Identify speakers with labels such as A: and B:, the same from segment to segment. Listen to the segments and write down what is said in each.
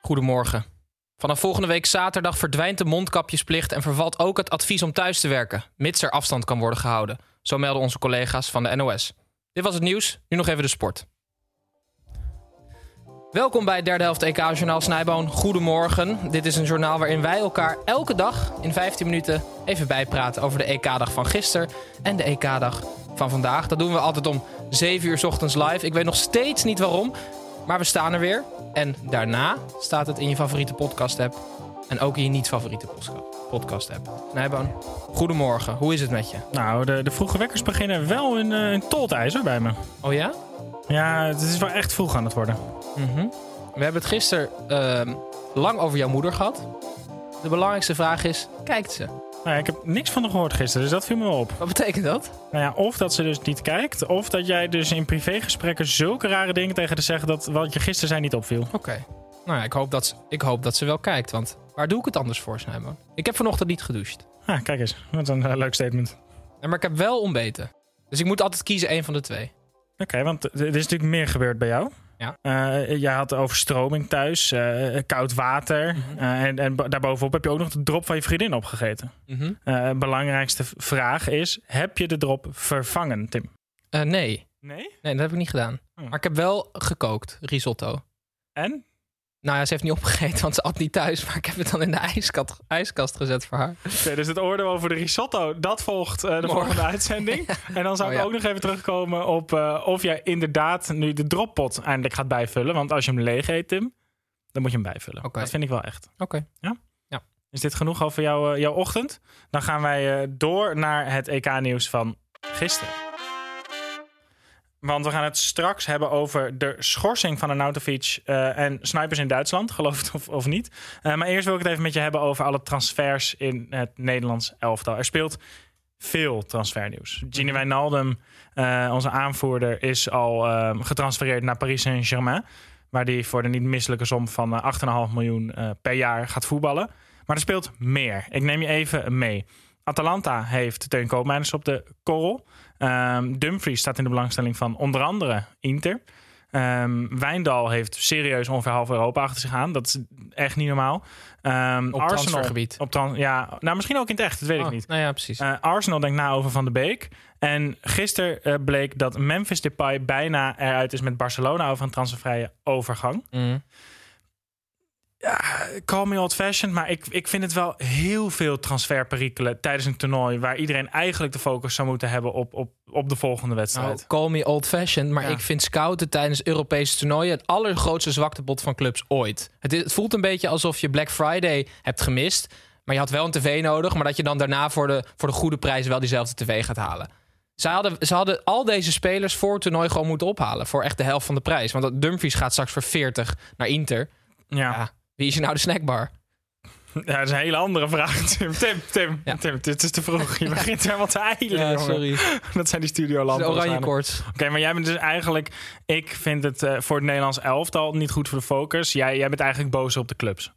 A: Goedemorgen. Vanaf volgende week zaterdag verdwijnt de mondkapjesplicht en vervalt ook het advies om thuis te werken, mits er afstand kan worden gehouden. Zo melden onze collega's van de NOS. Dit was het nieuws, nu nog even de sport. Welkom bij het derde helft EK-journaal Snijboon. Goedemorgen. Dit is een journaal waarin wij elkaar elke dag in 15 minuten even bijpraten over de EK-dag van gisteren en de EK-dag van vandaag. Dat doen we altijd om 7 uur 's ochtends live. Ik weet nog steeds niet waarom, maar we staan er weer. En daarna staat het in je favoriete podcast-app. En ook in je niet-favoriete postka- podcast-app. Nijboon, Nou, goedemorgen. Hoe is het met je?
B: Nou, de, de vroege wekkers beginnen wel in, eh, in toltijzer bij me.
A: Oh ja?
B: Ja, het is wel echt vroeg aan het worden.
A: Mhm. We hebben het gisteren ehm, lang over jouw moeder gehad. De belangrijkste vraag is, kijkt ze?
B: Nou, ja, ik heb niks van haar gehoord gisteren, dus dat viel me wel op.
A: Wat betekent dat?
B: Nou ja, of dat ze dus niet kijkt, of dat jij dus in privégesprekken zulke rare dingen tegen haar zegt dat wat je gisteren zei niet opviel.
A: Oké. Nou ja, ik hoop, dat ze, ik hoop dat ze wel kijkt. Want waar doe ik het anders voor, Snijboon? Ik heb vanochtend niet gedoucht.
B: Ah, kijk eens, wat een eh, leuk statement.
A: En Maar ik heb wel ontbeten. Dus ik moet altijd kiezen één van de twee.
B: Oké, want er is natuurlijk meer gebeurd bij jou.
A: Ja.
B: Eh, jij had overstroming thuis, eh, koud water. eh, en en bo- daarbovenop heb je ook nog de drop van je vriendin opgegeten.
A: Mhm.
B: Eh, belangrijkste v- vraag is: heb je de drop vervangen, Tim?
A: Eh, nee.
B: Nee.
A: nee, dat heb ik niet gedaan.
B: Oh.
A: Maar ik heb wel gekookt, risotto.
B: En?
A: Nou ja, ze heeft niet opgegeten, want ze at niet thuis. Maar ik heb het dan in de ijskat, ijskast gezet voor haar.
B: Oké, dus het oordeel over de risotto, dat volgt eh, de
A: Morgen.
B: volgende uitzending. En dan zou
A: Oh,
B: ik
A: ja.
B: ook nog even terugkomen op eh, of jij inderdaad nu de droppot eindelijk gaat bijvullen. Want als je hem leeg eet, Tim, dan moet je hem bijvullen.
A: Oké.
B: Dat vind ik wel echt.
A: Oké.
B: Is dit genoeg over jou, eh, jouw ochtend? Dan gaan wij eh, door naar het EK-nieuws van gisteren. Want we gaan het straks hebben over de schorsing van Arnautovic eh en snipers in Duitsland, geloof het of, of niet. Eh, maar eerst wil ik het even met je hebben over alle transfers in het Nederlands elftal. Er speelt veel transfernieuws.
A: Mhm.
B: Gini Wijnaldum, eh, onze aanvoerder, is al eh, getransfereerd naar Paris Saint-Germain. Waar hij voor de niet misselijke som van eh, 8,5 miljoen eh, per jaar gaat voetballen. Maar er speelt meer. Ik neem je even mee. Atalanta heeft Teun Koopmeiners op de korrel. Ehm, Dumfries staat in de belangstelling van onder andere Inter. Ehm, Wijndal heeft serieus ongeveer half Europa achter zich aan. Dat is echt niet normaal. Ehm,
A: Op transfergebied.
B: Op tran- ja, nou, misschien ook in het echt, dat weet ik
A: Oh,
B: niet.
A: Nou ja, precies.
B: Eh, Arsenal denkt na over Van de Beek. En gisteren eh, bleek dat Memphis Depay bijna eruit is met Barcelona over een transfervrije overgang.
A: Mm.
B: Call me old-fashioned, maar ik, ik vind het wel heel veel transferperikelen tijdens een toernooi... waar iedereen eigenlijk de focus zou moeten hebben op, op, op de volgende
A: Nou,
B: wedstrijd.
A: call me old-fashioned, maar
B: Ja.
A: ik vind scouten tijdens Europese toernooien... het allergrootste zwaktebod van clubs ooit. Het, is- het voelt een beetje alsof je Black Friday hebt gemist... maar je had wel een tv nodig... maar dat je dan daarna voor de, voor de goede prijs wel diezelfde tv gaat halen. Ze hadden, ze hadden al deze spelers voor het toernooi gewoon moeten ophalen... voor echt de helft van de prijs. Want dat Dumfries gaat straks voor 40 naar Inter.
B: ja.
A: Oh, Ja, wie is er nou de snackbar?
B: Ja, dat is een hele andere vraag, Tim. Tim, Tim,
A: Ja.
B: Tim dit is te vroeg. Je begint helemaal te eilen, jongen. Dat zijn die
A: De
B: studiolampen.
A: oranje
B: waarschijnlijk.
A: koorts. Nou
B: Oké, maar jij bent dus eigenlijk... Ik vind het eh, voor het Nederlands elftal niet goed voor de focus. Jij, jij bent eigenlijk boos op de clubs.
A: Nou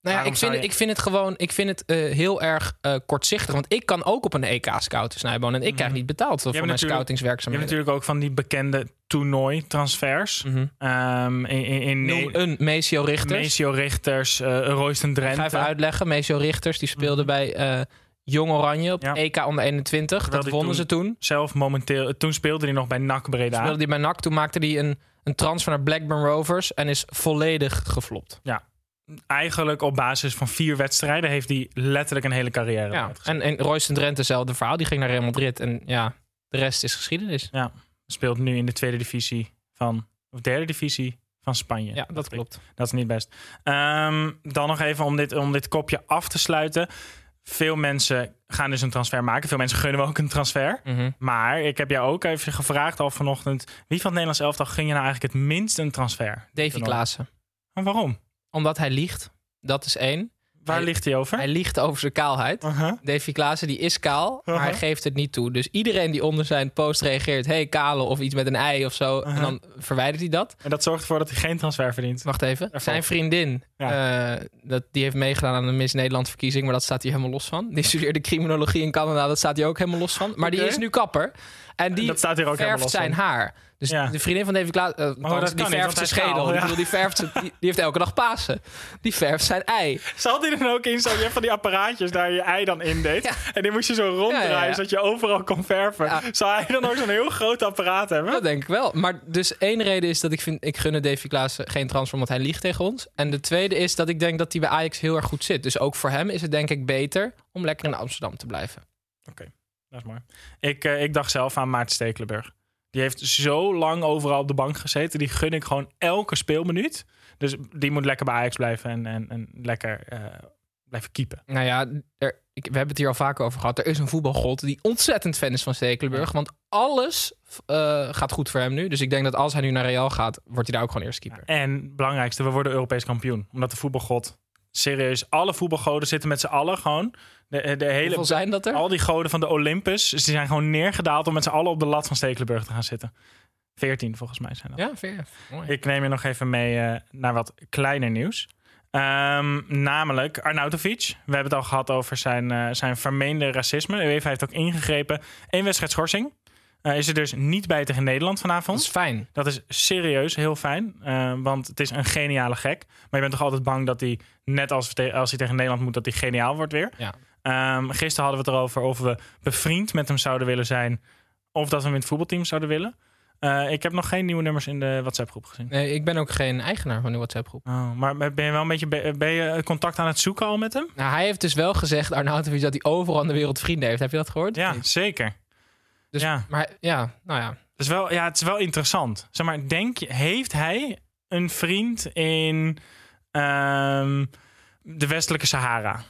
A: ja,
B: Waarom
A: ik
B: zou
A: vind,
B: je-
A: ik vind het gewoon ik vind het, eh, heel erg eh, kortzichtig. Want ik kan ook op een EK scouten, Snijboon. En ik krijg niet betaald voor mijn
B: natuurlijk- Mhm. Je hebt
A: scoutingswerkzaamheden.
B: natuurlijk ook van die bekende toernooi-transfers.
A: Hm.
B: Ehm, in, in, in
A: Mhm. Noem een Mesio Richters.
B: Maceo Richters, eh Royston Drenthe.
A: Ga even uitleggen. Mesio Richters, die speelde bij eh, Jong Oranje op
B: Mhm. Ja.
A: EK onder 21.
B: Terwijl
A: dat
B: die
A: wonnen
B: toen-
A: ze toen.
B: Zelf momenteel, eh, toen speelde hij nog bij NAC Breda.
A: Speelde hij bij NAC. Toen maakte hij een, een transfer naar Blackburn Rovers en is volledig geflopt.
B: Eigenlijk op basis van vier wedstrijden heeft hij letterlijk een hele carrière
A: Ja.
B: uitgezet.
A: En, en Royston Drenthe, hetzelfde verhaal. Die ging naar Real Madrid en ja, de rest is geschiedenis.
B: Speelt nu in de tweede divisie van, of derde divisie van Spanje.
A: Ja, dat
B: dacht ik.
A: klopt.
B: Dat is niet best. Ehm, dan nog even om dit, om dit kopje af te sluiten. Veel mensen gaan dus een transfer maken. Veel mensen gunnen we ook een transfer.
A: Mhm.
B: Maar ik heb jou ook even gevraagd al vanochtend. Wie van het Nederlands elftal gun je nou eigenlijk het minst een transfer?
A: Davy Klaassen.
B: En waarom?
A: Omdat hij liegt. Dat is één.
B: Waar
A: Hij-
B: ligt hij over?
A: Hij liegt over zijn kaalheid.
B: Uh-huh.
A: Davy Klaassen die is kaal, maar
B: Aha.
A: hij geeft het niet toe. Dus iedereen die onder zijn post reageert... hey, kale of iets met een ei of zo... en
B: Aha.
A: dan verwijdert hij dat.
B: En dat zorgt ervoor dat hij geen transfer verdient.
A: Wacht even.
B: Daarvoor.
A: Zijn vriendin, eh, dat, die heeft meegedaan aan de Miss Nederland verkiezing, maar dat staat hij helemaal los van. Die studeerde criminologie in Canada, dat staat hij ook helemaal los van. Maar die
B: Oké.
A: is nu kapper. En die
B: Dat staat hier ook helemaal
A: verft
B: los
A: zijn
B: van.
A: haar. Dus
B: Ja.
A: de vriendin van David Klaas, eh, althans,
B: kan
A: die
B: niet,
A: verft
B: want hij
A: zijn
B: is kaal,
A: schedel. Ik
B: ja.
A: bedoel, die, verft zijn, die, die heeft elke dag Pasen. Die verft zijn ei.
B: Zal hij er dan ook in zo? Je hebt van die apparaatjes daar je ei dan in deed.
A: Ja.
B: En die moest je zo ronddraaien
A: Ja, ja, ja.
B: zodat je overal kon verven.
A: Ja.
B: Zou hij dan ook zo'n heel groot apparaat hebben?
A: Dat denk ik wel. Maar dus één reden is dat ik vind, ik gunne Davy Klaassen geen transfer, want hij liegt tegen ons. En de tweede is dat ik denk dat hij bij Ajax heel erg goed zit. Dus ook voor hem is het denk ik beter om lekker in Amsterdam te blijven.
B: Dat is mooi. Ik, eh, ik dacht zelf aan Maarten Stekelenburg. Die heeft zo lang overal op de bank gezeten. Die gun ik gewoon elke speelminuut. Dus die moet lekker bij Ajax blijven en, en, en lekker eh, blijven keepen.
A: Nou ja, er, ik, we hebben het hier al vaker over gehad. Er is een voetbalgod die ontzettend fan is van Stekelenburg. Want alles eh, gaat goed voor hem nu. Dus ik denk dat als hij nu naar Real gaat, wordt hij daar ook gewoon eerst keeper.
B: En belangrijkste, we worden Europees kampioen. Omdat de voetbalgod, serieus, alle voetbalgoden zitten met z'n allen gewoon. De, de
A: Hoeveel
B: hele,
A: zijn dat er?
B: al die goden van de Olympus, ze zijn gewoon neergedaald om met z'n allen op de lat van Stekelenburg te gaan zitten. 14 volgens mij zijn dat.
A: Ja, veer. Mooi.
B: Ik neem je nog even mee eh, naar wat kleiner nieuws. Ehm, namelijk Arnautovic. We hebben het al gehad over zijn, eh, zijn vermeende racisme. UEFA heeft ook ingegrepen. Eén wedstrijd schorsing. Eh, is er dus niet bij tegen Nederland
A: Dat is
B: vanavond.
A: fijn.
B: Dat is serieus heel fijn. eh, want het is een geniale gek. Maar je bent toch altijd bang dat hij, net als, te- als hij tegen Nederland moet, dat hij geniaal wordt weer.
A: Ja.
B: Ehm, gisteren hadden we het erover of we bevriend met hem zouden willen zijn. Of dat we hem in het voetbalteam zouden willen. Eh, ik heb nog geen nieuwe nummers in de WhatsApp groep gezien.
A: Nee, ik ben ook geen eigenaar van die WhatsApp-groep.
B: Oh, maar ben je wel een beetje be- ben je contact aan het zoeken al met hem?
A: Nou, hij heeft dus wel gezegd, Arnautovic, dat hij overal in de wereld vrienden heeft. Heb je dat gehoord?
B: Ja,
A: Of niet?
B: zeker.
A: Dus,
B: ja.
A: Maar ja, nou ja.
B: Het is wel, ja, het is wel interessant. Zeg maar, denk je, heeft hij een vriend in ehm, de westelijke Sahara?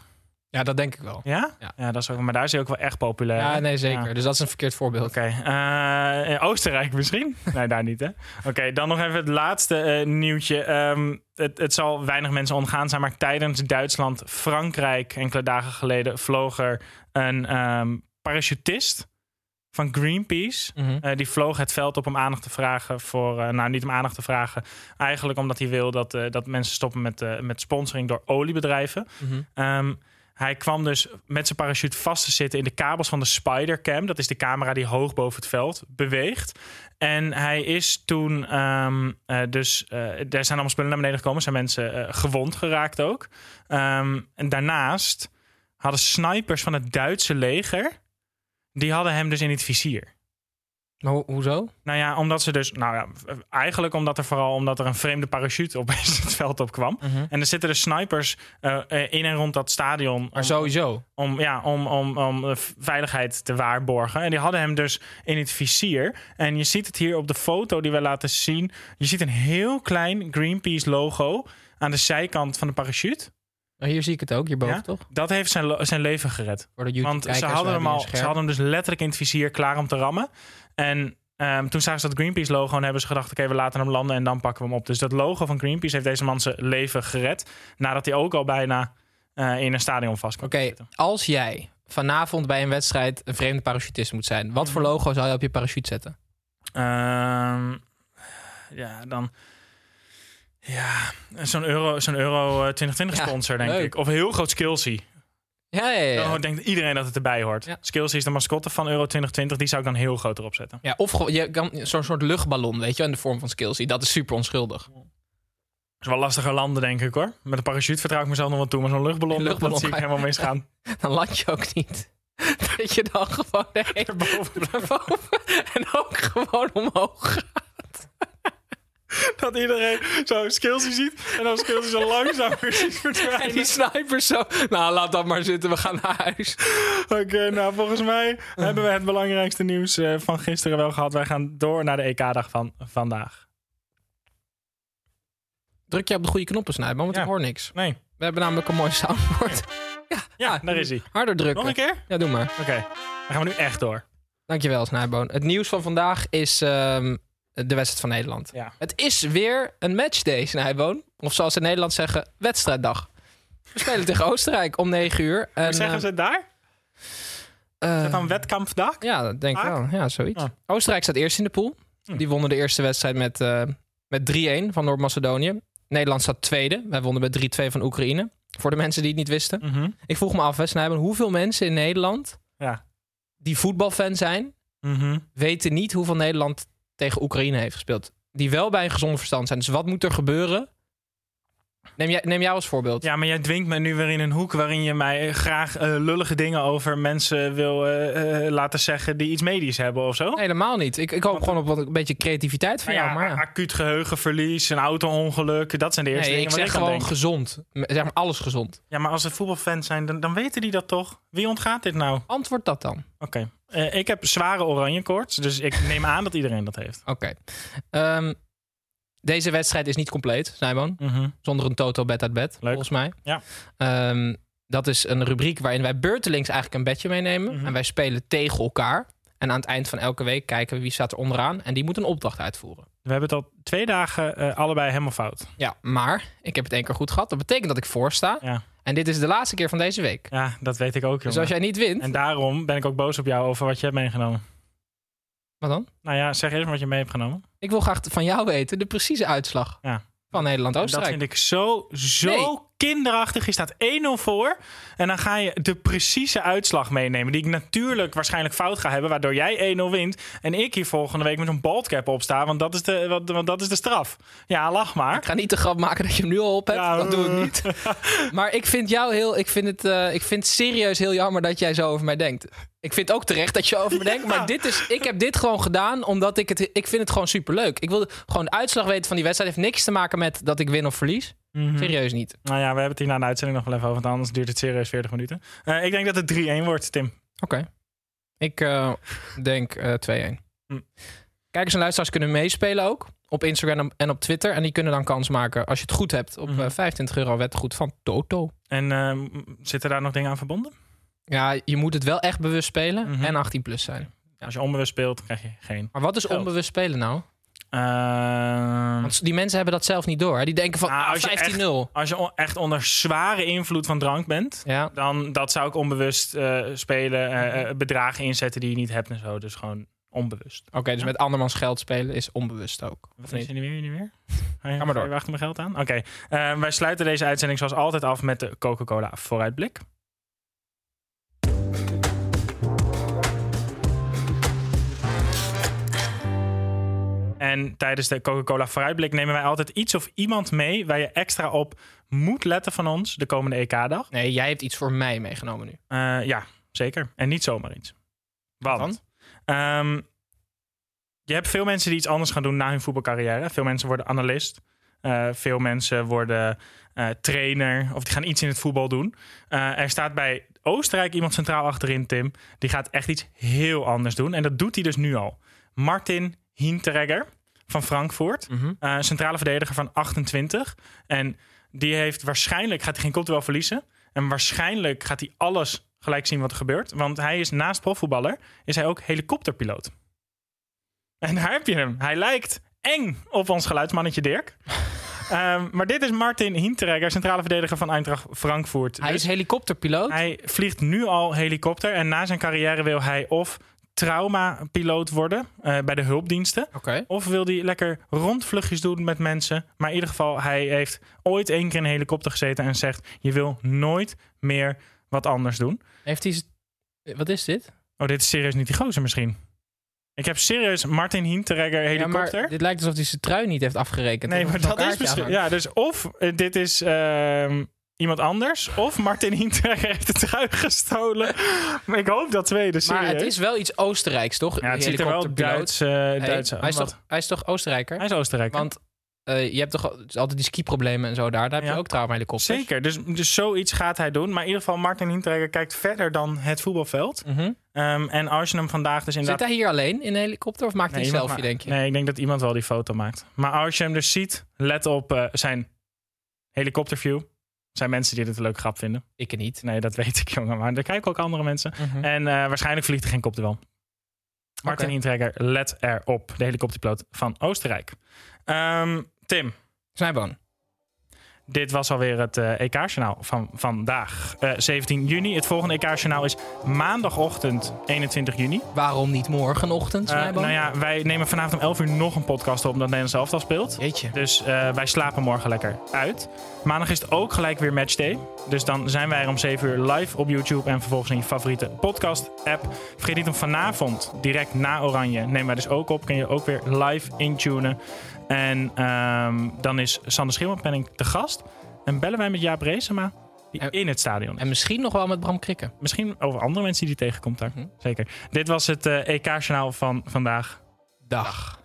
A: Ja, dat denk ik wel.
B: Ja?
A: Ja.
B: dat is ook, maar daar is hij ook wel echt populair.
A: Ja,
B: hè?
A: nee, zeker.
B: Ja.
A: Dus dat is een verkeerd voorbeeld.
B: Oké, eh, in Oostenrijk misschien? Nee, daar niet, hè? Oké, dan nog even het laatste eh, nieuwtje. Ehm, het, het zal weinig mensen ontgaan zijn, maar tijdens Duitsland, Frankrijk, enkele dagen geleden, vloog er een ehm, parachutist van Greenpeace.
A: Mhm.
B: Eh, die vloog het veld op om aandacht te vragen voor, eh, nou niet om aandacht te vragen, eigenlijk omdat hij wil dat, eh, dat mensen stoppen met, eh, met sponsoring door oliebedrijven.
A: Mhm.
B: Ehm, hij kwam dus met zijn parachute vast te zitten in de kabels van de Spidercam. Dat is de camera die hoog boven het veld beweegt. En hij is toen ehm, eh, dus... eh, er zijn allemaal spullen naar beneden gekomen. Er zijn mensen eh, gewond geraakt ook. Ehm, en daarnaast hadden snipers van het Duitse leger... die hadden hem dus in het vizier.
A: Maar ho- hoezo?
B: Nou ja, omdat ze dus... Nou ja, eigenlijk omdat er vooral omdat er een vreemde parachute opeens het veld op kwam. En er zitten dus snipers eh, eh, in en rond dat stadion.
A: Maar sowieso.
B: om, ja, om, om, om eh, v- veiligheid te waarborgen. En die hadden hem dus in het vizier. En je ziet het hier op de foto die we laten zien. Je ziet een heel klein Greenpeace-logo aan de zijkant van de parachute.
A: Maar hier zie ik het ook, hierboven
B: Ja?
A: toch?
B: Dat heeft zijn, lo- zijn leven gered.
A: Voor de YouTube eh,
B: Want ze hadden, hem al, ze hadden hem dus letterlijk in het vizier klaar om te rammen. En ehm, toen zagen ze dat Greenpeace-logo en hebben ze gedacht... oké, we laten hem landen en dan pakken we hem op. Dus dat logo van Greenpeace heeft deze man zijn leven gered... nadat hij ook al bijna eh, in een stadion vast kwam
A: Oké,
B: te zitten.
A: als jij vanavond bij een wedstrijd een vreemde parachutist moet zijn, wat voor logo zou je op je parachute zetten?
B: Ehm, ja, dan... Ja, zo'n euro, zo'n euro eh, 2020
A: Ja,
B: sponsor, denk
A: leuk.
B: ik. Of een heel groot Skillsy.
A: Ja, ja, ja.
B: Dan denkt iedereen dat het erbij hoort.
A: Ja.
B: Skillsy is de mascotte van euro 2020. Die zou ik dan heel groot erop zetten.
A: Ja, of gewoon- je kan zo'n soort luchtballon, weet je, wel, in de vorm van skills. Dat is super onschuldig.
B: is wel lastiger landen, denk ik hoor. Met een parachute vertrouw ik mezelf nog wel toe, maar zo'n luchtballon,
A: Een luchtballon
B: dat zie ik
A: ga je-
B: helemaal misgaan.
A: Dan land je ook niet. Dat je dan gewoon erheen boven en ook gewoon omhoog gaat.
B: Dat iedereen zo'n skillsje ziet en dan skillsje zo langzaam weer ziet
A: En die
B: verdwijnen.
A: snipers zo. Nou, laat dat maar zitten, we gaan naar huis.
B: Oké, nou volgens mij hebben we het belangrijkste nieuws eh, van gisteren wel gehad. Wij gaan door naar de EK-dag van vandaag.
A: Druk jij op de goede knoppen, Snijboom, want
B: Ja.
A: ik hoor niks.
B: Nee,
A: We hebben namelijk een mooi soundboard. Ja,
B: ja, daar is hij.
A: Harder drukken.
B: Nog een keer?
A: Ja, doe maar.
B: Oké, dan gaan we nu echt door.
A: Dankjewel, Snijboon. Het nieuws van vandaag is ehm, de wedstrijd van Nederland.
B: Ja.
A: Het is weer een matchday, Snijboon. Of zoals ze in Nederland zeggen, wedstrijddag. We spelen tegen Oostenrijk om 9 uur. En,
B: Hoe zeggen ze het daar? Is
A: eh,
B: dat dan wetkampdag?
A: Ja, dat denk ik wel.
B: Vaak?
A: Ja, zoiets.
B: Ja. Hm.
A: Oostenrijk staat eerst in de pool. Die wonnen de eerste wedstrijd met, eh, met 3-1 van Noord-Macedonië. Nederland staat tweede. Wij wonnen met 3-2 van Oekraïne. Voor de mensen die het niet wisten.
B: Mhm.
A: Ik vroeg me af, hè, Snijboon, hoeveel mensen in Nederland
B: Ja.
A: die voetbalfan zijn,
B: Mhm.
A: weten niet hoeveel Nederland tegen Oekraïne heeft gespeeld. Die wel bij een gezond verstand zijn. Dus wat moet er gebeuren? Neem, jij, neem jou als voorbeeld.
B: Ja, maar jij dwingt me nu weer in een hoek waarin je mij graag eh, lullige dingen over mensen wil eh, eh, laten zeggen die iets medisch hebben of zo.
A: Nee, Helemaal niet. Ik, ik hoop gewoon op wat, een beetje creativiteit van
B: Nou ja,
A: jou. Maar ja.
B: a- acuut geheugenverlies, een auto-ongeluk, dat zijn de eerste
A: Nee, ik
B: dingen. waar
A: zeg
B: aan
A: gewoon
B: denk.
A: gezond. M- Zeg maar alles gezond.
B: Ja, maar als ze voetbalfans zijn, dan, dan weten die dat toch? Wie ontgaat dit nou? Oké.
A: Antwoord dat dan.
B: Eh, ik heb zware oranje koorts, dus ik neem aan dat iedereen dat heeft.
A: Oké. Ehm, deze wedstrijd is niet compleet, Simon.
B: Mhm.
A: Zonder een toto bed uit bed,
B: Leuk.
A: volgens mij.
B: Ja.
A: Ehm, dat is een rubriek waarin wij beurtelings eigenlijk een bedje meenemen.
B: Mhm.
A: En wij spelen tegen elkaar. En aan het eind van elke week kijken we wie staat er onderaan. En die moet een opdracht uitvoeren.
B: We hebben het al twee dagen eh, allebei helemaal fout.
A: Ja, maar ik heb het één keer goed gehad. Dat betekent dat ik voor sta.
B: Ja.
A: En dit is de laatste keer van deze week.
B: Ja, dat weet ik ook, jongen.
A: Dus als jij niet wint,
B: En daarom ben ik ook boos op jou over wat je hebt meegenomen.
A: wat dan?
B: Nou ja, zeg eerst maar wat je mee hebt genomen.
A: Ik wil graag van jou weten de precieze uitslag
B: Ja.
A: van
B: Dat
A: Nederland-Oostenrijk.
B: vind ik zo, zo
A: Nee.
B: kinderachtig. Je staat 1-0 voor. En dan ga je de precieze uitslag meenemen. Die ik natuurlijk waarschijnlijk fout ga hebben. Waardoor jij 1-0 wint. En ik hier volgende week met een baldcap op sta. Want dat is de, want, want dat is de straf. Ja, lach maar.
A: Ik ga niet de grap maken dat je hem nu al op hebt.
B: Ja,
A: dat doe ik
B: eh.
A: niet. Maar ik vind jou heel. Ik vind, het, eh, ik vind het serieus heel jammer dat jij zo over mij denkt. Ik vind ook terecht dat je over me denkt. Maar dit is, ik heb dit gewoon gedaan omdat ik het. Ik vind het gewoon superleuk. Ik wil gewoon de uitslag weten van die wedstrijd. heeft niks te maken met dat ik win of verlies. Serieus niet. Oké.
B: Nou ja, we hebben het hier na de uitzending nog wel even over. Want anders duurt het serieus 40 minuten. Eh, ik denk dat het 3-1 wordt, Tim.
A: Ik eh, denk eh 2-1.
B: Hm.
A: Kijkers en luisteraars kunnen meespelen ook. Op Instagram en op Twitter. En die kunnen dan kans maken als je het goed hebt. Op
B: Mhm.
A: eh, 25 euro wetgoed van Toto.
B: En eh, zitten daar nog dingen aan verbonden?
A: Ja, je moet het wel echt bewust spelen
B: Mhm.
A: en 18 plus zijn.
B: Als je onbewust speelt, krijg je geen.
A: Maar wat is
B: Geld. Mhm.
A: onbewust spelen nou?
B: Ehm,
A: Want die mensen hebben dat zelf niet door. Hè? Die denken van
B: Nou,
A: ah,
B: als je
A: 15-0.
B: als je on- echt onder zware invloed van drank bent.
A: Ja,
B: dan dat zou ik onbewust eh, spelen, eh, eh, bedragen inzetten die je niet hebt en zo. Dus gewoon onbewust.
A: oké, dus met andermans geld spelen is onbewust ook. Of
B: Wat
A: niet?
B: is er nu weer? Nu weer? Ga je,
A: Ga maar door.
B: je wachten mijn geld aan? Oké, Eh, wij sluiten deze uitzending zoals altijd af met de Coca-Cola vooruitblik. En tijdens de Coca-Cola vooruitblik nemen wij altijd iets of iemand mee waar je extra op moet letten van ons de komende E EK-dag.
A: Nee, jij hebt iets voor mij meegenomen nu.
B: Eh, ja, zeker. En niet zomaar iets. Want
A: dan?
B: ehm, je hebt veel mensen die iets anders gaan doen na hun voetbalcarrière. Veel mensen worden analist. Eh, veel mensen worden eh, trainer. Of die gaan iets in het voetbal doen. Eh, er staat bij Oostenrijk iemand centraal achterin, Tim. Die gaat echt iets heel anders doen. En dat doet hij dus nu al. Martin Hinteregger van Frankfurt. Eh, centrale verdediger van 28. En die heeft waarschijnlijk, gaat hij geen kop wel verliezen. En waarschijnlijk gaat hij alles gelijk zien wat er gebeurt. Want hij is naast profvoetballer, is hij ook helikopterpiloot. En daar heb je hem. Hij lijkt eng op ons geluidsmannetje Dirk. Ehm, maar dit is Martin Hinteregger, centrale verdediger van Eintracht Frankfurt.
A: Hij
B: Dus-
A: is helikopterpiloot.
B: hij vliegt nu al helikopter en na zijn carrière wil hij of traumapiloot worden eh, bij de hulpdiensten.
A: Oké.
B: Of wil hij lekker rondvluchtjes doen met mensen. Maar in ieder geval, hij heeft ooit één keer in een helikopter gezeten en zegt... je wil nooit meer wat anders doen.
A: Heeft hij... z- eh, Wat is dit?
B: Oh, dit is serieus niet die gozer misschien. Ik heb serieus Martin Hinteregger
A: Ja, maar
B: helikopter.
A: dit lijkt alsof hij zijn trui niet heeft afgerekend.
B: nee,
A: Er
B: maar
A: nog een
B: dat is
A: kaartje
B: misschien.
A: aan
B: Ja, dus of eh, dit is ehm, iemand anders, of Martin Hinteregger heeft de trui gestolen. maar ik hoop dat tweede.
A: hangt.
B: Serieus.
A: Maar het is wel iets Oostenrijks, toch?
B: Ja, het ziet er wel
A: Helikopterpiloot.
B: Duits, eh,
A: Hey,
B: Duits
A: hij, is
B: Wat?
A: toch, hij is toch Oostenrijker?
B: hij is Oostenrijker.
A: Want eh, je hebt toch al- altijd die ski-problemen en zo daar. Daar heb je
B: Ja.
A: ook traumahelikopters.
B: Zeker, dus, dus zoiets gaat hij doen. Maar in ieder geval, Martin Hinteregger kijkt verder dan het voetbalveld.
A: Mhm.
B: Ehm, en als je hem vandaag dus
A: Zit
B: inderdaad...
A: hij hier alleen in een helikopter of maakt hij
B: Nee,
A: een
B: iemand
A: selfie,
B: ma-
A: denk je?
B: Nee, ik denk dat iemand wel die foto maakt. Maar als je hem dus ziet, let op eh, zijn helikopterview. Er zijn mensen die dit een leuk grap vinden.
A: Ik niet.
B: Nee, dat weet ik, jongen. Maar daar kijken ook andere mensen.
A: Mhm.
B: En eh, waarschijnlijk vliegt er geen kop er wel. Martin
A: Oké.
B: Hinteregger, let erop. De helikopterpiloot van Oostenrijk. Ehm, Tim,
A: Snijboon.
B: Dit was alweer het eh, EK-journaal van vandaag, eh, 17 juni. Het volgende EK-journaal is maandagochtend, 21 juni.
A: Waarom niet morgenochtend,
B: Eh,
A: Snijboon?
B: nou ja, wij nemen vanavond om 11 uur nog een podcast op omdat Nederland zelf al speelt.
A: Jeetje.
B: Dus eh, wij slapen morgen lekker uit. Maandag is het ook gelijk weer matchday. Dus dan zijn wij er om 7 uur live op YouTube en vervolgens in je favoriete podcast-app. Vergeet niet om vanavond, direct na Oranje, nemen wij dus ook op. Kun je ook weer live intunen. En ehm, dan is Sander Schimmelpenning te gast. En bellen wij met Jaap Reesema, die
A: En-
B: in het stadion is.
A: En misschien nog wel met Bram Krikken.
B: Misschien over andere mensen die die tegenkomt daar.
A: Mhm.
B: Zeker. Dit was het eh, EK-journaal van vandaag.
A: Dag.